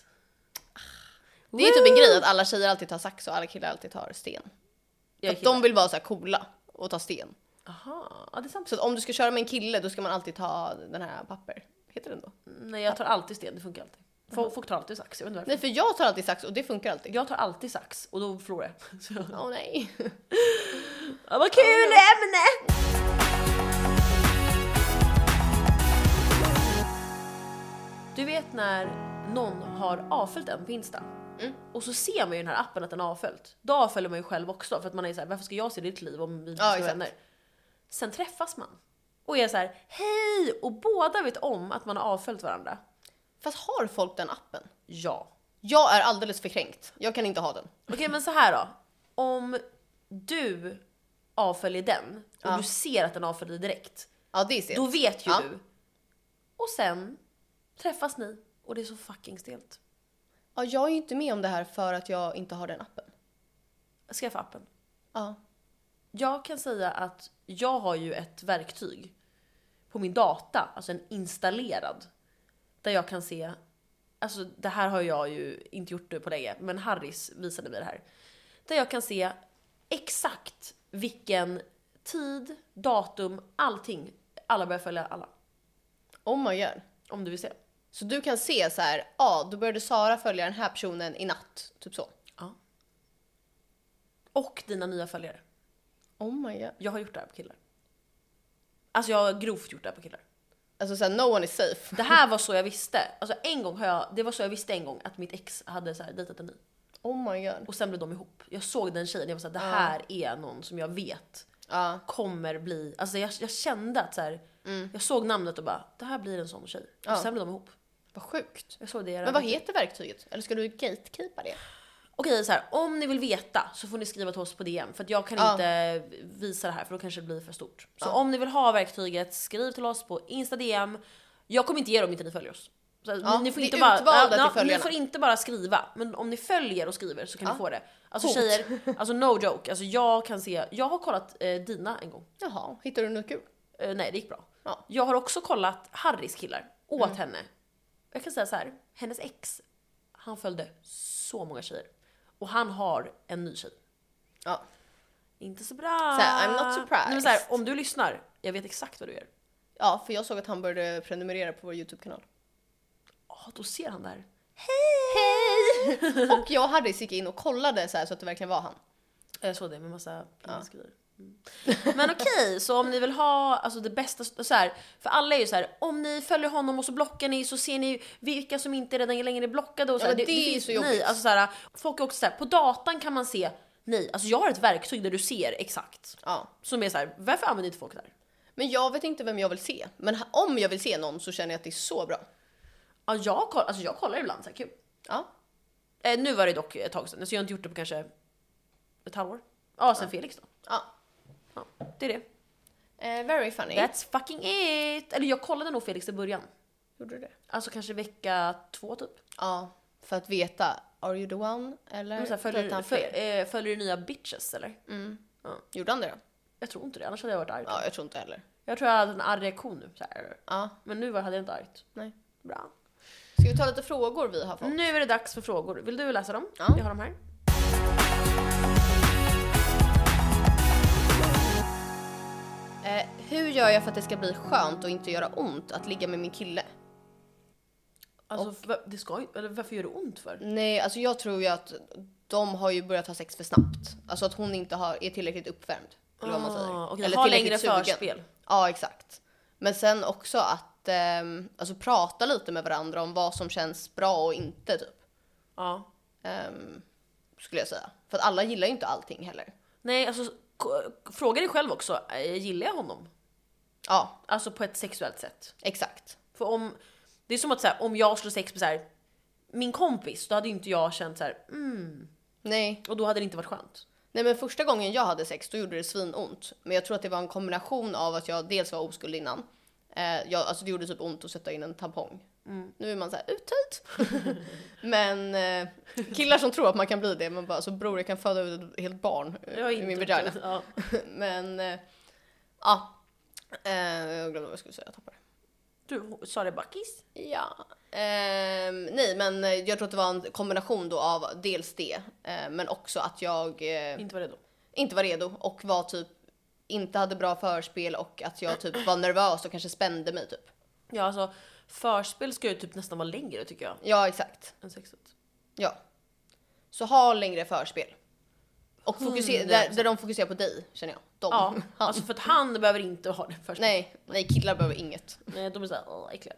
Speaker 1: Det är typ en grej att alla tjejer alltid tar sax och alla killar alltid tar sten. För
Speaker 2: Jag
Speaker 1: att de vill vara såhär coola och ta sten.
Speaker 2: Aha, ja, det är sant.
Speaker 1: Så att om du ska köra med en kille då ska man alltid ta den här papper. Heter den då?
Speaker 2: Nej jag tar alltid sten, det funkar alltid. Folk, folk tar alltid sax, jag vet inte varför.
Speaker 1: Nej för jag tar alltid sax och det funkar alltid.
Speaker 2: Jag tar alltid sax och då förlorar jag. Så.
Speaker 1: Åh nej.
Speaker 2: Ja, vad kul ämne! Du vet när någon har avföljt en på Insta
Speaker 1: Mm.
Speaker 2: och så ser man ju i den här appen att den har avföljt. Då avföljer man ju själv också för att man är så här, varför ska jag se ditt liv om vi inte
Speaker 1: Ja,
Speaker 2: ska vara
Speaker 1: exakt.
Speaker 2: vänner? Sen träffas man och är så här, hej! Och båda vet om att man har avföljt varandra.
Speaker 1: Fast har folk den appen?
Speaker 2: Ja.
Speaker 1: Jag är alldeles för kränkt. Jag kan inte ha den.
Speaker 2: Okej men så här då. Om du avföljer den och
Speaker 1: Ja.
Speaker 2: du ser att den avföljer dig direkt.
Speaker 1: Ja det är sent.
Speaker 2: Då vet ju
Speaker 1: Ja.
Speaker 2: du. Och sen träffas ni och det är så fucking stelt.
Speaker 1: Ja, jag är ju inte med om det här för att jag inte har den appen.
Speaker 2: Skaffa appen.
Speaker 1: Ja.
Speaker 2: Jag kan säga att jag har ju ett verktyg på min data, alltså en installerad, där jag kan se, alltså det här har jag ju inte gjort nu på länge, men Harris visade mig det här. Där jag kan se exakt vilken tid, datum, allting. Alla börjar följa alla.
Speaker 1: Om man gör.
Speaker 2: Om du vill se.
Speaker 1: Så du kan se så här, ja då började Sara följa den här personen i natt. Typ så.
Speaker 2: Och dina nya följare.
Speaker 1: Om man gör.
Speaker 2: Jag har gjort det här på killar. Alltså jag har grovt gjort det här på killar.
Speaker 1: Alltså såhär, no one is safe.
Speaker 2: Det här var så jag visste. Alltså en gång har jag, det var så jag visste en gång att mitt ex hade så här dejtat en ny.
Speaker 1: Om man gör.
Speaker 2: Och sen blev de ihop. Jag såg den tjejen jag var såhär, det här är någon som jag vet
Speaker 1: Ja.
Speaker 2: kommer bli, alltså jag, jag kände att så här, jag såg namnet och bara, det här blir en sån tjej.
Speaker 1: Mm. Ja.
Speaker 2: Och sen blev de ihop.
Speaker 1: Vad sjukt.
Speaker 2: Jag såg det.
Speaker 1: Men vad heter verktyget? Eller ska du gatekeepa det?
Speaker 2: Okej så här, om ni vill veta så får ni skriva till oss på DM för att jag kan
Speaker 1: Ja.
Speaker 2: inte visa det här för då kanske det blir för stort. Så om ni vill ha verktyget, skriv till oss på Insta DM. Jag kommer inte ge dem inte ni följer oss. Så
Speaker 1: Ja,
Speaker 2: ni, ni, får
Speaker 1: det är
Speaker 2: inte bara,
Speaker 1: utvalda till
Speaker 2: ja, ni
Speaker 1: följarna.
Speaker 2: får inte bara skriva, men om ni följer och skriver så kan ni
Speaker 1: Ja.
Speaker 2: få det. Alltså
Speaker 1: Hot.
Speaker 2: tjejer, alltså no joke. Alltså jag kan se, jag har kollat eh, dina en gång.
Speaker 1: Jaha, hittar du något kul?
Speaker 2: Eh, nej det gick bra.
Speaker 1: Ja. Mm.
Speaker 2: Jag har också kollat Harrys killar åt henne. Jag kan säga så här, hennes ex, han följde så många tjejer. Och han har en ny tjej.
Speaker 1: Ja.
Speaker 2: Inte så bra.
Speaker 1: Så här, I'm not surprised.
Speaker 2: Nej, men så här, om du lyssnar, jag vet exakt vad du gör.
Speaker 1: Ja, för jag såg att han började prenumerera på vår YouTube-kanal.
Speaker 2: Ja, då ser han där.
Speaker 1: Hej! Och jag hade gick in och kollade så, här, så att det verkligen var han.
Speaker 2: Jag såg det med massa pingisgrejer. Mm. Men okej, så om ni vill ha alltså det bästa, så här, för alla är ju så här, om ni följer honom och så blockar ni så ser ni vilka som inte redan längre är blockade. Och så
Speaker 1: Ja,
Speaker 2: här,
Speaker 1: men det är
Speaker 2: finns-
Speaker 1: så jobbigt.
Speaker 2: Nej, alltså så här, folk är också så här, på datan kan man se, nej, alltså jag har ett verktyg där du ser exakt.
Speaker 1: Ja.
Speaker 2: Som är så här, varför använder inte folk det här?
Speaker 1: Men jag vet inte vem jag vill se. Men ha- om jag vill se någon så känner jag att det är så bra.
Speaker 2: Ja, jag, koll- alltså jag kollar ibland så här, kul.
Speaker 1: Ja.
Speaker 2: Eh, nu var det dock ett tag sedan, så jag har inte gjort det på kanske ett halvår. Ja, sen Felix då.
Speaker 1: ja.
Speaker 2: Ja, det är det.
Speaker 1: Eh, very funny.
Speaker 2: That's fucking it! Eller jag kollade nog Felix i början.
Speaker 1: Gjorde du det?
Speaker 2: Alltså kanske vecka två typ.
Speaker 1: Ja, för att veta. Are you the one? Eller
Speaker 2: Men så
Speaker 1: dejtade
Speaker 2: här, följer,
Speaker 1: han
Speaker 2: föl,
Speaker 1: fler?
Speaker 2: eh, följer du nya bitches eller?
Speaker 1: Gjorde han det då?
Speaker 2: Jag tror inte det, annars hade jag varit arg.
Speaker 1: Ja, jag tror inte heller.
Speaker 2: Jag tror jag hade en arg reaktion nu. Så här.
Speaker 1: Ja,
Speaker 2: Men nu var- hade jag inte argt.
Speaker 1: nej.
Speaker 2: Bra.
Speaker 1: Ska vi ta lite frågor vi har fått?
Speaker 2: Nu är det dags för frågor. Vill du läsa dem?
Speaker 1: Ja.
Speaker 2: Jag har dem här.
Speaker 1: Eh, hur gör jag för att det ska bli skönt och inte göra ont att ligga med min kille?
Speaker 2: Alltså, va- det ska ju, eller varför gör det ont för?
Speaker 1: Nej, alltså jag tror ju att de har ju börjat ha sex för snabbt. Alltså att hon inte har, är tillräckligt uppvärmd. Eller vad man säger.
Speaker 2: Ah, okej,
Speaker 1: eller
Speaker 2: ha längre
Speaker 1: tillräckligt typ sugen.
Speaker 2: förspel.
Speaker 1: Ja, exakt. Men sen också att ehm, alltså, prata lite med varandra om vad som känns bra och inte typ.
Speaker 2: Ja.
Speaker 1: Ehm, skulle jag säga. För att alla gillar ju inte allting heller.
Speaker 2: Nej, alltså k- fråga dig själv också. eh, Gillar jag honom?
Speaker 1: Ja,
Speaker 2: Alltså på ett sexuellt sätt.
Speaker 1: exakt.
Speaker 2: För om, det är som att så här, om jag skulle sex med så här, min kompis, då hade ju inte jag känt så här, mm,
Speaker 1: Nej,
Speaker 2: och då hade det inte varit skönt.
Speaker 1: Nej men första gången jag hade sex då gjorde det svinont. Men jag tror att det var en kombination av att jag dels var oskuld innan. Eh, jag, alltså det gjorde typ ont att sätta in en tampong.
Speaker 2: Mm.
Speaker 1: Nu är man såhär uttöjd. men eh, killar som tror att man kan bli det, man bara så bror jag kan föda ut ett helt barn eh,
Speaker 2: Jag har
Speaker 1: i
Speaker 2: inte
Speaker 1: min vagina.
Speaker 2: Ja.
Speaker 1: men eh, ja. Eh, jag glömde vad jag skulle säga, jag tappade det.
Speaker 2: Du sa det bara kiss.
Speaker 1: Ja. Ehm, nej, men eh, jag tror att det var en kombination då av dels det, eh, men också att jag eh,
Speaker 2: Inte var redo.
Speaker 1: inte var redo och var typ inte hade bra förspel och att jag typ var nervös och kanske spände mig typ.
Speaker 2: Ja alltså förspel ska ju typ nästan vara längre tycker jag.
Speaker 1: Ja, exakt.
Speaker 2: Än sexet.
Speaker 1: Ja. Så ha längre förspel. Och fokusera, där, där de fokuserar på dig känner jag. De.
Speaker 2: Ja,
Speaker 1: Han.
Speaker 2: alltså för att han behöver inte ha det förspel.
Speaker 1: Nej, nej killar behöver inget.
Speaker 2: Nej, de är såhär åh äckliga.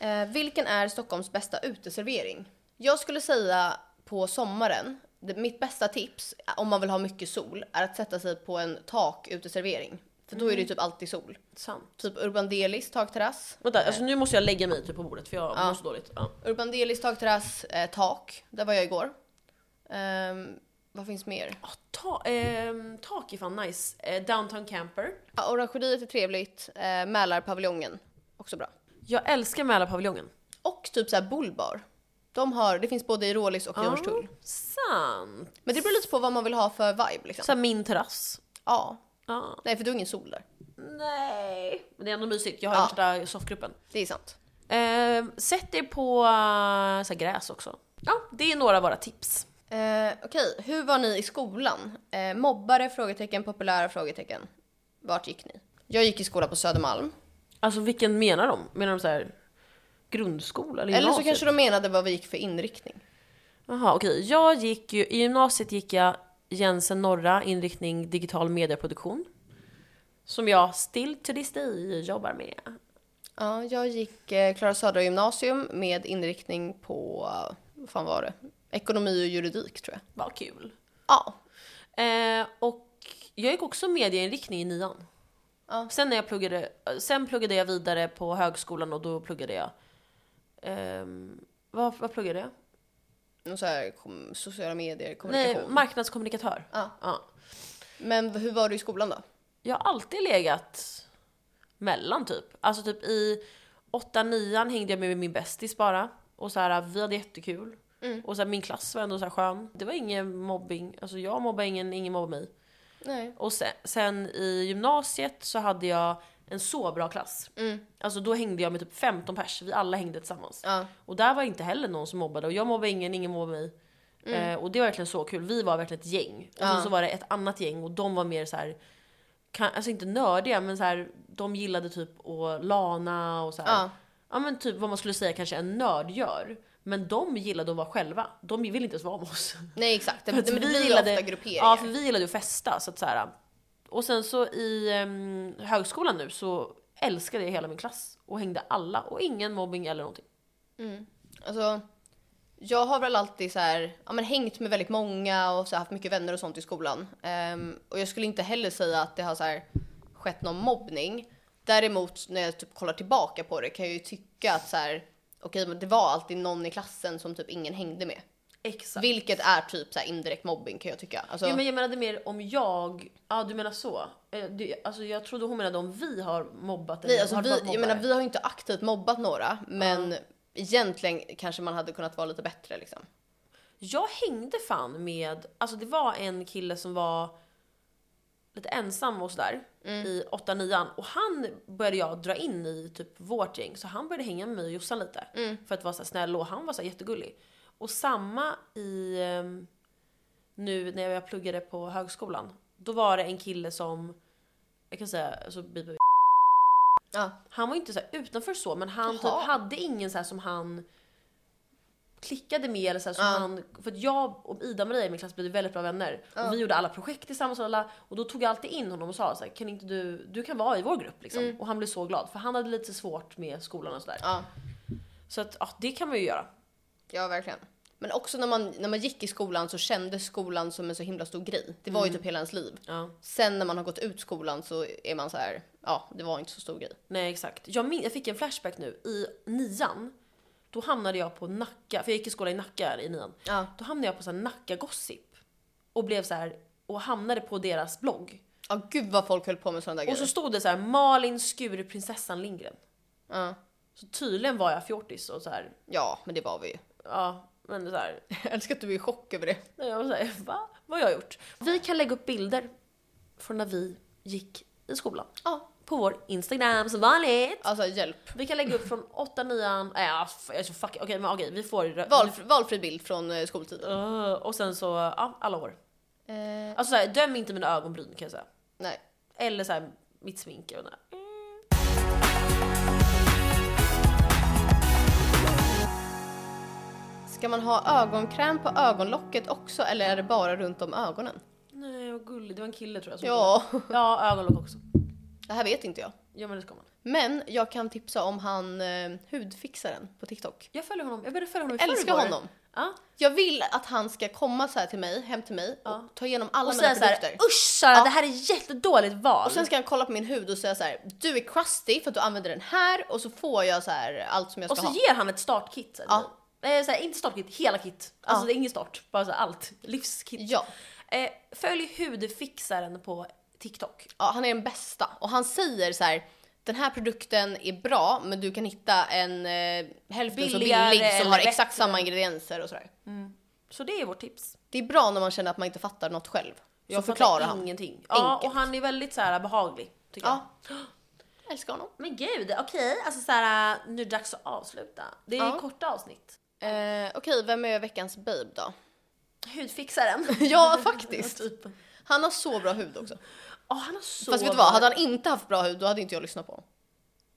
Speaker 1: Eh, vilken är Stockholms bästa uteservering? Jag skulle säga på sommaren. Det, mitt bästa tips eh, om man vill ha mycket sol är att sätta sig på en takuteservering. För då är det ju typ alltid sol.
Speaker 2: Sant.
Speaker 1: Typ Urban Delis takterrass.
Speaker 2: Vänta, alltså nu måste jag lägga mig typ på bordet för jag mår så dåligt. Ja.
Speaker 1: Urban Delis takterrass, eh, tak. Där var jag igår. Ehm, vad finns mer?
Speaker 2: Ah, ta, ehm, tak är fan nice. Eh, downtown camper.
Speaker 1: Ja, Orangeriet är trevligt. Eh, Mälarpaviljongen, också bra.
Speaker 2: Jag älskar Mälarpaviljongen.
Speaker 1: Och typ så här Bullbar. De har, det finns både i Rålis och i Hornstull.
Speaker 2: Ah, sant.
Speaker 1: Men det beror lite på vad man vill ha för vibe liksom.
Speaker 2: Såhär min terrass.
Speaker 1: Ja.
Speaker 2: Ah.
Speaker 1: Nej för du har ingen sol där.
Speaker 2: Nej. Men det är ändå mysigt. Jag har värsta soffgruppen.
Speaker 1: Det är sant.
Speaker 2: Ehm, sätt er på eh, så här gräs också. Ja, det är några av våra tips.
Speaker 1: Eh, Okej, hur var ni i skolan? Eh, mobbare? Frågetecken, populära? Frågetecken. Vart gick ni? Jag gick i skola på Södermalm.
Speaker 2: Alltså vilken menar de? Menar de så här grundskola eller
Speaker 1: Eller så
Speaker 2: gymnasiet?
Speaker 1: kanske de menade vad vi gick för inriktning.
Speaker 2: Jaha, okej. Jag gick ju, i gymnasiet gick jag Jensen Norra, inriktning digital medieproduktion. Som jag still to this day jobbar med.
Speaker 1: Ja, jag gick eh, Klara Södra gymnasium med inriktning på, eh, vad fan var det? Ekonomi och juridik tror jag.
Speaker 2: Vad kul.
Speaker 1: Ja.
Speaker 2: Eh, och jag gick också medieinriktning i nian.
Speaker 1: Ja.
Speaker 2: Sen, när jag pluggade, eh, sen pluggade jag vidare på högskolan och då pluggade jag... ehm, vad, vad pluggade jag?
Speaker 1: Någon så här, kom, sociala medier,
Speaker 2: Nej,
Speaker 1: kommunikation.
Speaker 2: marknadskommunikatör.
Speaker 1: Ja.
Speaker 2: Ja.
Speaker 1: Men hur var du i skolan då?
Speaker 2: Jag har alltid legat mellan typ. Alltså typ i 8-9 hängde jag med min bästis bara. Och så här, vi hade jättekul.
Speaker 1: Mm.
Speaker 2: Och så här, min klass var ändå så här skön. Det var ingen mobbing. Alltså jag mobbade ingen, ingen mobbade mig.
Speaker 1: Nej.
Speaker 2: Och sen, sen i gymnasiet så hade jag en så bra klass. Alltså då hängde jag med typ 15 pers, vi alla hängde tillsammans.
Speaker 1: Ja.
Speaker 2: Och där var inte heller någon som mobbade och jag mobbade ingen, ingen mobbade mig. Eh, och det var verkligen så kul, vi var verkligen ett gäng. Och sen så var det ett annat gäng och de var mer så här. Kan, alltså inte nördiga men så här, de gillade typ att lana och så här.
Speaker 1: Ja.
Speaker 2: ja men typ vad man skulle säga kanske en nörd gör. Men de gillade att vara själva, de ville inte ens vara med oss.
Speaker 1: Nej exakt, det,
Speaker 2: För att
Speaker 1: det, men det
Speaker 2: vi
Speaker 1: blir
Speaker 2: gillade-
Speaker 1: ofta grupperingar.
Speaker 2: Ja, för vi gillade ju att festa. Så att så här, och sen så i em, högskolan nu så älskade jag hela min klass och hängde alla och ingen mobbing eller någonting.
Speaker 1: Alltså, jag har väl alltid så här, ja, men hängt med väldigt många och så här, haft mycket vänner och sånt i skolan. Ehm, och jag skulle inte heller säga att det har så här, skett någon mobbning. Däremot när jag typ kollar tillbaka på det kan jag ju tycka att så här, okej, men det var alltid någon i klassen som typ ingen hängde med.
Speaker 2: Exakt.
Speaker 1: Vilket är typ så här, indirekt mobbing kan jag tycka. Alltså,
Speaker 2: Jo, men jag menade mer om jag, ja ah, du menar så. Eh, du, alltså jag trodde hon menade om vi har mobbat eller
Speaker 1: vi, alltså,
Speaker 2: har
Speaker 1: vi,
Speaker 2: varit
Speaker 1: jag
Speaker 2: mobbare.
Speaker 1: menar, vi har ju inte aktivt mobbat några, men egentligen kanske man hade kunnat vara lite bättre liksom.
Speaker 2: Jag hängde fan med, alltså det var en kille som var lite ensam och sådär i 8 9 och han började jag dra in i typ vårt gäng så han började hänga med mig och Jossan lite för att vara så här snäll och han var så här jättegullig. Och samma i ehm, nu när jag pluggade på högskolan. Då var det en kille som, jag kan säga, alltså, beep,
Speaker 1: Ja.
Speaker 2: han var inte så här utanför så men han typ
Speaker 1: Jaha.
Speaker 2: hade ingen så här som han klickade med eller så här som
Speaker 1: Ja.
Speaker 2: han, för att jag och Ida-Maria i min klass blev väldigt bra vänner och vi gjorde alla projekt tillsammans och alla och då tog jag alltid in honom och sa så här, kan inte du, du kan vara i vår grupp liksom.
Speaker 1: Mm.
Speaker 2: Och han blev så glad för han hade lite svårt med skolan och sådär.
Speaker 1: ja.
Speaker 2: Så att ja, det kan man ju göra.
Speaker 1: Ja, verkligen. Men också när man, när man gick i skolan så kändes skolan som en så himla stor grej. Det var ju typ hela ens liv.
Speaker 2: Ja.
Speaker 1: Sen när man har gått ut skolan så är man så här, ja, det var inte så stor grej.
Speaker 2: Nej exakt. Jag, min- jag fick en flashback nu. I nian, då hamnade jag på Nacka, för jag gick i skola i Nacka i nian.
Speaker 1: Ja.
Speaker 2: Då hamnade jag på så här Nacka Gossip. Och blev så här och hamnade på deras blogg.
Speaker 1: Ja gud vad folk höll på med sådana där
Speaker 2: Och så
Speaker 1: grejer.
Speaker 2: stod det så här Malin Skur prinsessan Lindgren.
Speaker 1: Ja.
Speaker 2: Så tydligen var jag fjortis och så här,
Speaker 1: ja men det var vi ju.
Speaker 2: ja men så här,
Speaker 1: Jag älskar att du är i chock över det.
Speaker 2: Nej, Jag var såhär, va? Vad har jag gjort? Vi kan lägga upp bilder från när vi gick i skolan.
Speaker 1: Ja.
Speaker 2: På vår Instagram som vanligt.
Speaker 1: Alltså hjälp.
Speaker 2: Vi kan lägga upp från 8, 9, nej äh, jag är så fuck, okej men okej vi får rö-
Speaker 1: Valfri, valfri bild från eh, skoltiden.
Speaker 2: Öh, och sen så, ja alla år.
Speaker 1: Eh,
Speaker 2: Alltså såhär, döm inte mina ögonbryn kan jag säga.
Speaker 1: nej.
Speaker 2: Eller såhär mitt smink och det. där.
Speaker 1: Ska man ha ögonkräm på ögonlocket också eller är det bara runt om ögonen?
Speaker 2: Nej vad gulligt, det var en kille tror jag som
Speaker 1: Ja,
Speaker 2: ja ögonlock också.
Speaker 1: det här vet inte jag.
Speaker 2: Ja men det ska man.
Speaker 1: Men jag kan tipsa om han eh, hudfixaren på TikTok.
Speaker 2: Jag följer honom, jag började följa honom i
Speaker 1: Jag älskar
Speaker 2: förrgår.
Speaker 1: honom.
Speaker 2: Ja.
Speaker 1: Jag vill att han ska komma så här till mig, hem till mig
Speaker 2: Ja.
Speaker 1: och ta igenom alla
Speaker 2: Och
Speaker 1: mina
Speaker 2: säga
Speaker 1: produkter.
Speaker 2: såhär, usch Sara
Speaker 1: Ja.
Speaker 2: det här är jättedåligt val.
Speaker 1: Och sen ska han kolla på min hud och säga så här: du är crusty för att du använder den här och så får jag så här allt som jag
Speaker 2: Och
Speaker 1: ska
Speaker 2: så
Speaker 1: ha.
Speaker 2: ger han ett startkit. Så här,
Speaker 1: Ja.
Speaker 2: Eh, så här, inte startkit, hela kit. Alltså
Speaker 1: Ja.
Speaker 2: det är ingen start, bara så här, allt. Livskit.
Speaker 1: Ja.
Speaker 2: Eh, följ hudfixaren på TikTok.
Speaker 1: ja, han är den bästa. Och han säger så här: den här produkten är bra men du kan hitta en eh, hälften så
Speaker 2: Billigare
Speaker 1: billig som
Speaker 2: eller
Speaker 1: har exakt
Speaker 2: bättre.
Speaker 1: samma ingredienser och sådär.
Speaker 2: Så det är vårt tips.
Speaker 1: Det är bra när man känner att man inte fattar något själv. Så
Speaker 2: Jag
Speaker 1: förklarar
Speaker 2: fattar
Speaker 1: han.
Speaker 2: ingenting. Ja, och
Speaker 1: Enkelt.
Speaker 2: han är väldigt så här, behaglig. Tycker
Speaker 1: Ja.
Speaker 2: jag.
Speaker 1: Jag älskar honom.
Speaker 2: Men gud, okej. Alltså så här, nu är det dags att avsluta. Det är
Speaker 1: Ja.
Speaker 2: korta avsnitt.
Speaker 1: Eh, Okej, vem är veckans babe då?
Speaker 2: Hudfixaren.
Speaker 1: Ja, faktiskt.
Speaker 2: typ.
Speaker 1: Han har så bra hud också.
Speaker 2: Åh, han har så
Speaker 1: Fast vet du vad, hade
Speaker 2: bra-
Speaker 1: han inte haft bra hud då hade inte jag lyssnat på honom.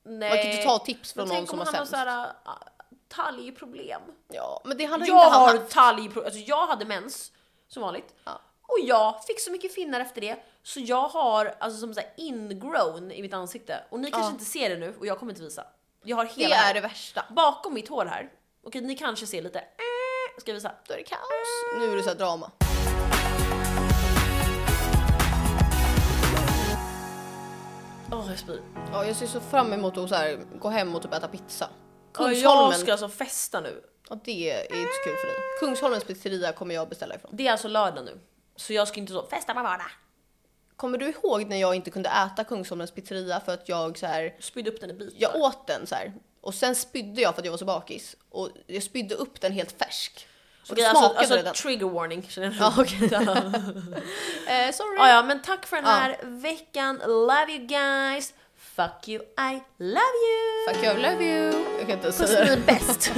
Speaker 2: Nej.
Speaker 1: Man kan ju inte ta tips
Speaker 2: Men
Speaker 1: från någon
Speaker 2: tänk
Speaker 1: som
Speaker 2: om
Speaker 1: har
Speaker 2: han har
Speaker 1: sämst.
Speaker 2: så här, äh, talgproblem.
Speaker 1: Ja, men det hade
Speaker 2: jag
Speaker 1: inte han
Speaker 2: har
Speaker 1: haft.
Speaker 2: talgproblem, alltså jag hade mens som vanligt.
Speaker 1: Ja.
Speaker 2: Och jag fick så mycket finnar efter det så jag har alltså som så här ingrown i mitt ansikte. Och ni kanske
Speaker 1: Ja.
Speaker 2: inte ser det nu och jag kommer inte visa. Jag har
Speaker 1: Det
Speaker 2: hela
Speaker 1: är
Speaker 2: här.
Speaker 1: det värsta.
Speaker 2: bakom mitt hår här. Okej ni kanske ser lite, äh, ska jag visa?
Speaker 1: Då är det kaos. Nu är det så här drama.
Speaker 2: Åh jag spyr.
Speaker 1: Ja, jag ser så fram emot att så här, gå hem och typ äta pizza.
Speaker 2: Åh,
Speaker 1: Kungsholmen,
Speaker 2: Jag ska alltså festa nu.
Speaker 1: ja, det är inte så kul för dig. Kungsholmens pizzeria kommer jag beställa ifrån.
Speaker 2: Det är alltså lördag nu. Så jag ska inte så, festa på vardag.
Speaker 1: Kommer du ihåg när jag inte kunde äta Kungsholmens pizzeria för att jag så här,
Speaker 2: Spydde upp den i bitar.
Speaker 1: jag åt den så här och sen spydde jag för att jag var så bakis och jag spydde upp den helt färsk. Så
Speaker 2: Okej,
Speaker 1: det smakade
Speaker 2: alltså,
Speaker 1: redan.
Speaker 2: alltså trigger warning känner jag.
Speaker 1: Ja, okej. eh, sorry.
Speaker 2: Ja, ja, men tack för den
Speaker 1: Ja.
Speaker 2: här veckan. Love you guys. Fuck you, I love you.
Speaker 1: Fuck you, I love you. Jag kan inte
Speaker 2: Puss
Speaker 1: säga
Speaker 2: ni
Speaker 1: det.
Speaker 2: är bäst.